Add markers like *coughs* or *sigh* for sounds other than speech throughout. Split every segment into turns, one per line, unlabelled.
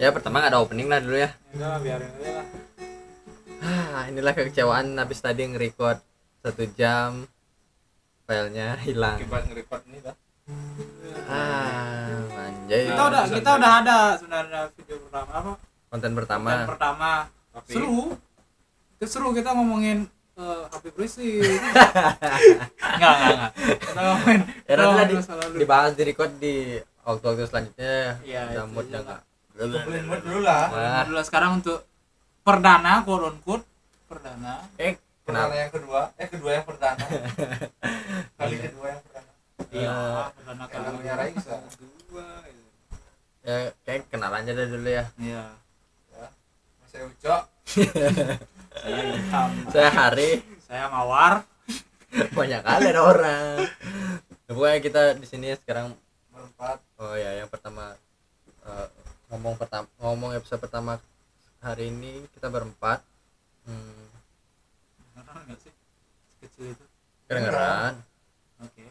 Ya pertama nggak ada opening lah dulu ya
Enggak lah, biarin aja lah.
Ah, Inilah kekecewaan habis tadi nge-record Satu jam Filenya hilang
akibat ngerekord ini dah
Ah, anjay
Kita udah
bisa,
kita
bisa.
udah ada sebenarnya video pertama apa?
Konten
Yang
pertama
pertama
tapi
seru. Itu seru kita ngomongin eh, HP
*laughs*
berisik. Enggak, enggak, enggak. Kita ngomongin
Ya nanti lah di,
masa lalu.
dibahas di record di waktu-waktu selanjutnya
Iya,
Udah
itu
mood
aja
udah
lah.
nggak
Kumpulin mood dulu lah
Wah,
Dulu lah, sekarang untuk perdana quote on quote perdana
eh kenapa? *laughs*
pertama
Iya.
yang kedua eh kedua yang pertama kali kedua yang pertama
Eh,
iya perdana Nah, kali
kalau punya Rai bisa.
kedua gitu.
Ya, kayak kenalannya aja dulu ya *laughs*
iya
saya ucok
saya hitam
Saya Hari
saya mawar
banyak kali ada orang Nah, pokoknya kita di sini sekarang
berempat
oh ya yang pertama eh, ngomong pertama ngomong episode pertama hari ini kita berempat hmm,
Kedengeran nggak sih kecil itu
kedengeran
oke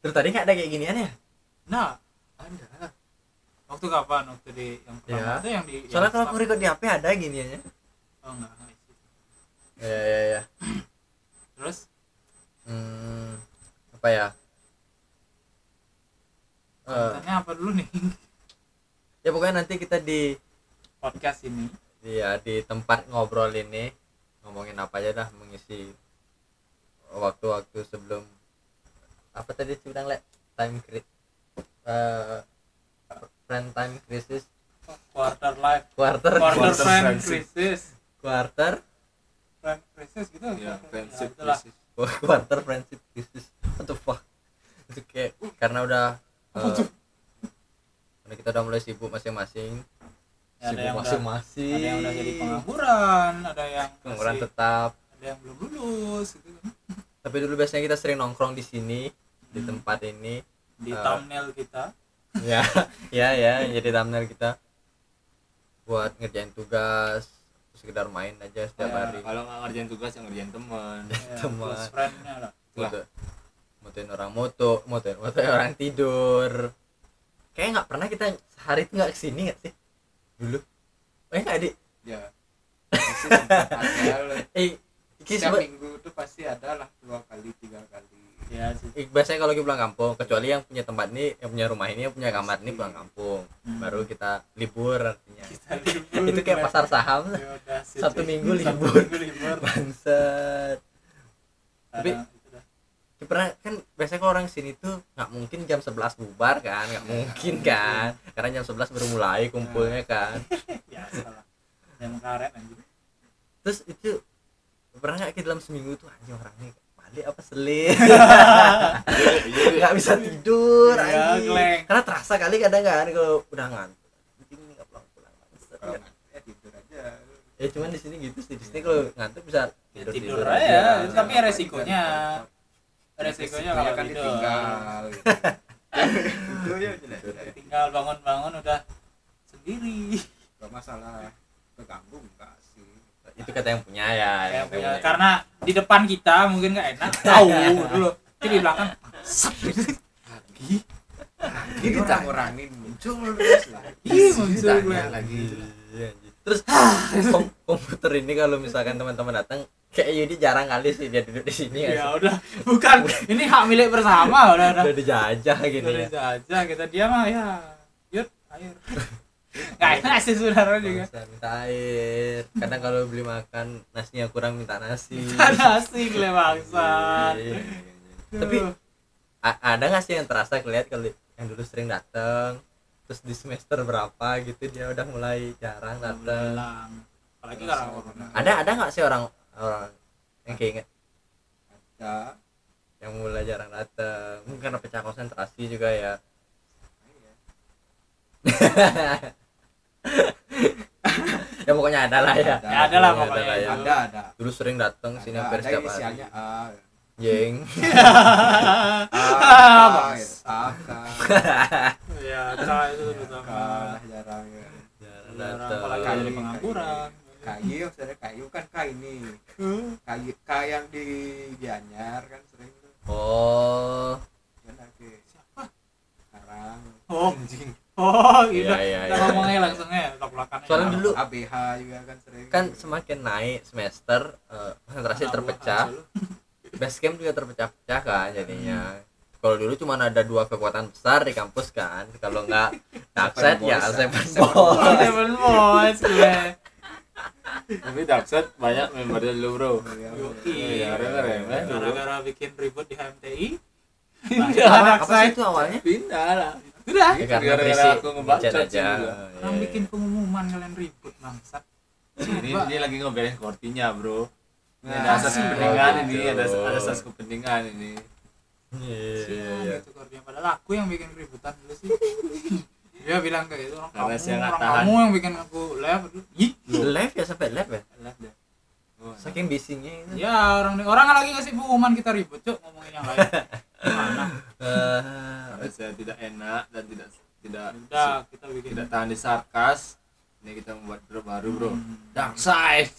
terus tadi nggak ada kayak ginian ya
nah
anda
waktu kapan waktu di yang pertama
Iya.
itu yang di
soalnya
yang
kalau aku
start.
record di HP ada giniannya
oh enggak enggak isi.
ya ya ya
terus
hmm, apa ya Eh,
tanya apa dulu nih *laughs*
ya pokoknya nanti kita di
podcast ini
di, ya, di tempat ngobrol ini ngomongin apa aja dah mengisi waktu-waktu sebelum apa tadi sih bilang le time cri- eh, friend time crisis
quarter life
quarter
quarter
Quarter
time
crisis.
crisis
quarter
time crisis gitu
ya
Ya,
friendship
itulah.
crisis.
quarter friendship crisis what the fuck itu kayak karena udah eh, karena kita udah mulai sibuk masing-masing
Ya, ada
sibuk
yang udah-
masing-masing
ada yang udah
Iya.
jadi pengangguran ada yang
pengangguran
masih-
tetap
ada yang belum lulus gitu kan
tapi dulu biasanya kita sering nongkrong di sini di
Hmm.
tempat
*laughs*
ini
di
Iya.
Eh.
thumbnail kita
ya ya ya jadi thumbnail kita buat ngerjain tugas sekedar main aja setiap
Ya,
hari
kalau nggak ngerjain tugas yang ngerjain teman *laughs*
ya,
Teman.
close friend-nya lah
lah.
Moto- motoin orang moto motoin motoin orang tidur kayak nggak pernah kita sehari itu nggak kesini nggak sih dulu eh nggak di
ya pasti tempat ada
*laughs*
lah.
eh ini
setiap
sebe-
minggu tuh pasti ada lah dua kali tiga kali
ya sih
eh, biasanya kalau kita pulang kampung kecuali yang punya tempat ini yang punya rumah ini yang punya kamar ini pulang kampung
Hmm.
baru kita libur artinya
kita libur
itu kayak
kita-
Iya,
pasar saham
Ya udah, sih,
Sabtu
cuy.
minggu
Sabtu
libur.
minggu libur
bangsat Tapi-
Ada- itu dah.
Ya, pernah kan biasanya kalau orang sini tuh nggak mungkin jam 11 bubar kan nggak mungkin kan karena jam 11 baru mulai kumpulnya kan
ya salah yang karet anjing
terus itu pernah nggak ke dalam seminggu tuh anjing orangnya balik apa selip *laughs* nggak bisa tidur
Iya,
anjing
geleng.
karena terasa kali kadang kan kalau udah ngantuk anjing ini nggak pulang pulang
kalau nggak, ya tidur aja
ya cuman di sini gitu sih di sini kalau ngantuk bisa
ya
tidur
tidur
tidur
aja
aja.
tapi ya resikonya resikonya kalau
kan
tidur
ditinggal
*laughs*
gitu. itu ya jelek jelek
tinggal bangun-bangun udah sendiri
gak masalah keganggu enggak sih
itu kata yang punya ya
Kayak punya-
punya.
karena di depan kita mungkin nggak enak tahu dulu tapi di belakang sep, gitu.
lagi lagi
Ini
orang
tak-
ngurangin muncul terus lagi
Ih, muncul
Ditanya
gue.
lagi
Iya, anjing. *laughs* Terus kom- komputer ini kalau misalkan teman-teman datang kayak Yudi jarang kali sih dia duduk di sini ya.
ya udah bukan ini hak milik bersama udah udah
Udah dijajah gitu ya.
Tulis aja kita dia mah ya yuk air nggak enak sih saudara juga
Bangsa, minta air. Kadang kalau beli makan nasinya kurang minta *laughs* nasi.
ada sih Kan le bangsat
Iya. Tapi a- ada nggak sih yang terasa kelihat kalau yang dulu sering datang terus di semester berapa gitu dia udah mulai jarang datang.
hilang apalagi karena corona
Ada ada nggak sih orang orang yang keinget
ada
yang mulai jarang datang mungkin karena pecah konsentrasi juga ya *laughs* ya pokoknya ada lah ya
ya ada lah
Iya,
pokoknya
ada,
itu.
ada ada
dulu sering datang sini
ada
hampir
ada
setiap hari
isiannya A
jeng *laughs*
A A K
ya ada itu
K
terutama
lah jarang ya
Jarang
Orang
datang
oh,
apalagi ada di pengangguran
kayu misalnya kayu kan K ini K kayak kayak yang di Gianyar kan sering tuh
oh
kan ada
siapa
sekarang
Oh.
anjing
oh gitu
Iya, iya,
kita
iya.
ngomongnya langsung ya belak-belakan aja.
Soalnya dulu-
ABH juga kan sering
kan semakin naik semester eh, konsentrasi
Anak
terpecah
buah,
base camp juga terpecah-pecah kan jadinya kalau dulu cuma ada dua kekuatan besar di kampus kan kalau nggak dapset ya
Seven
Seven
Boys.
Boys.
Boys, Seven Boys iya, gue.
Iya, Tapi dapset banyak membernya dulu bro.
Iya,
Yoi.
Iya, Iya. keren ya.
Gara-gara bikin ribut di HMTI. Nah,
Apa-
Anak
apa
saya
sih itu awalnya
pindah lah
sudah.
ya,
Itu
karena
gara-gara
berisi
aku ngebacot
hujan aja
sih juga.
Iya.
Orang bikin pengumuman kalian ribut bangsat.
Ini
Coba.
dia lagi ngobrolin kortinya bro. Ini
Nah,
ada asas
sih.
kepentingan
Oh,
ini,
gitu.
ada ada asas kepentingan ini.
Iya, iya,
Sial
iya.
gitu Gordian. Padahal aku yang bikin keributan dulu
*laughs*
sih. Dia bilang kayak gitu orang
Karena saya
kamu,
nggak
orang
tahan.
kamu yang bikin aku live dulu. Ih,
live ya sampai live ya
Alah, dah. Oh,
saking bisinya itu
Ya orang orang lagi ngasih pengumuman kita ribut cok ngomongin yang
*laughs*
lain. Gimana?
Karena
Eh,
saya tidak enak dan tidak tidak
Udah kita bikin.
tidak tahan di sarkas. Ini kita membuat grup baru bro.
Hmm.
Dark side.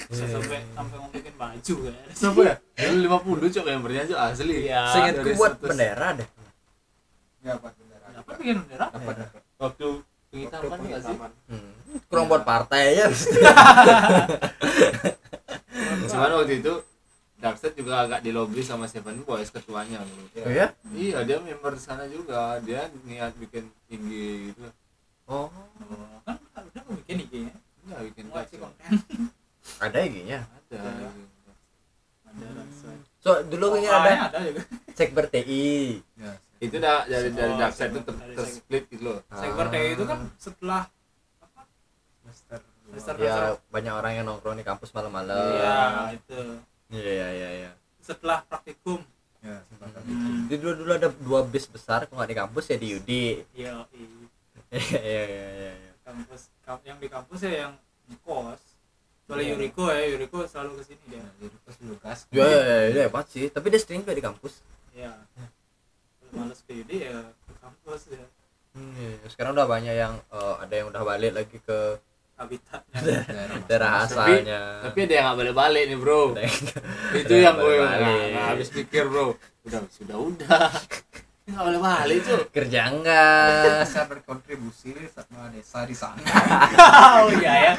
Bisa sampai sampai mau bikin baju kan.
Siapa ya? Dulu 50 cok membernya cok asli.
Iya.
seingatku
Dari
buat
100.
bendera deh
dapat bendera
Dapat bikin bendera.
dapat
Iya.
dapat
Waktu
Waktu
pengitaman nggak sih?
pengetaman.
Hmm. kurang buat partai aja
Cuman waktu itu Darkseid juga agak dilobi sama Seven Boys ketuanya bro.
oh ya
Iya dia member sana juga dia niat bikin IG gitu
oh
Kan udah aku bikin IG-nya.
nggak Iya, bikin
Mau
kaca
kasih konten.
ada ya, IG-nya
ada
Ada.
Ada rasa.
so dulu kayaknya ada
Pokoknya Oh, ada ya, juga.
cek berti
ya
itu dah dari dari
Oh,
Darkseid itu ter,
dari
ter- split gitu loh
Cyber Day itu kan
Ah.
setelah
semester dua.
Semester
ya banyak orang yang nongkrong di kampus malam-malam
Iya, itu.
iya iya iya iya
Setelah praktikum.
ya semester
Jadi dulu dulu ada dua bis besar kalau nggak di kampus ya di Yudi
Iya,
*laughs* iya iya iya iya, iya
kampus kam- yang di kampus ya yang ngekos kecuali
Iya.
Yuriko ya Yuriko selalu kesini dia
Nah, jadi pas dulu kas
Iya, iya iya hebat sih tapi dia sering juga di kampus
ya kalau males ke UD ya ke kampus ya
Hmm, iya, iya. sekarang udah banyak yang eh, ada yang udah balik lagi ke
habitatnya
daerah
Nah, tapi
asalnya
tapi ada yang nggak balik balik nih bro
Ada yang-
itu
yang
yang gue
balik-balik.
nggak nggak habis pikir bro udah sudah udah Ini *laughs* nggak balik balik tuh
kerja enggak
bisa berkontribusi sama desa di sana
oh iya *laughs* ya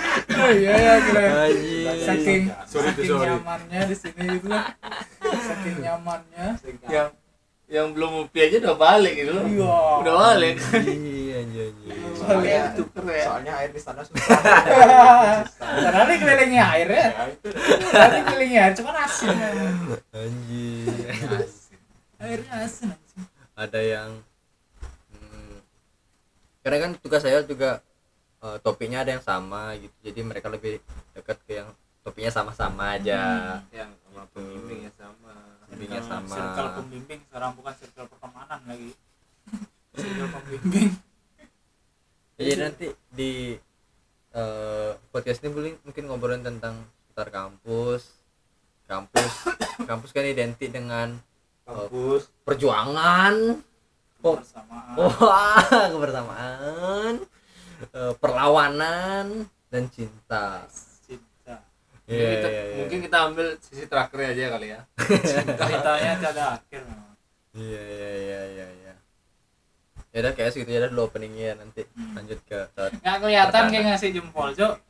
oh iya ya keren
Anjir.
saking
Sorry,
saking
sorry.
nyamannya di sini gitu lah saking nyamannya
yang yang belum ngopi aja udah balik gitu loh
Iya.
udah balik
Iya, iya, iya.
Soalnya
soalnya
itu keren.
ya, soalnya air di sana susah
*laughs*
karena ini kelilingnya air ya tadi kelilingnya air cuman asin memang.
Anjir.
airnya asin asin
Ada yang hmm, karena kan tugas saya juga eh, topiknya ada yang sama gitu. Jadi mereka lebih dekat ke yang topiknya sama-sama aja.
Hmm, yang sama pembimbing ya sama
Topiknya
Sekarang
sama.
circle pembimbing sekarang bukan circle pertemanan lagi circle pembimbing
Jadi nanti di eh, podcast ini mungkin mungkin ngobrolin tentang seputar kampus. Kampus *coughs* kampus kan identik dengan
kampus
perjuangan, Oh.
bersamaan
Wah, *laughs* kebersamaan, eh, perlawanan dan cinta.
cinta
Mungkin kita, mungkin kita ambil sisi terakhir aja kali ya
ceritanya tiada akhir memang.
Iya, iya, iya, iya, iya. Ya udah kayak segitu ya udah dulu openingnya nanti
Hmm.
lanjut ke ke
nggak kelihatan
Pertanda.
kayak ngasih jempol cok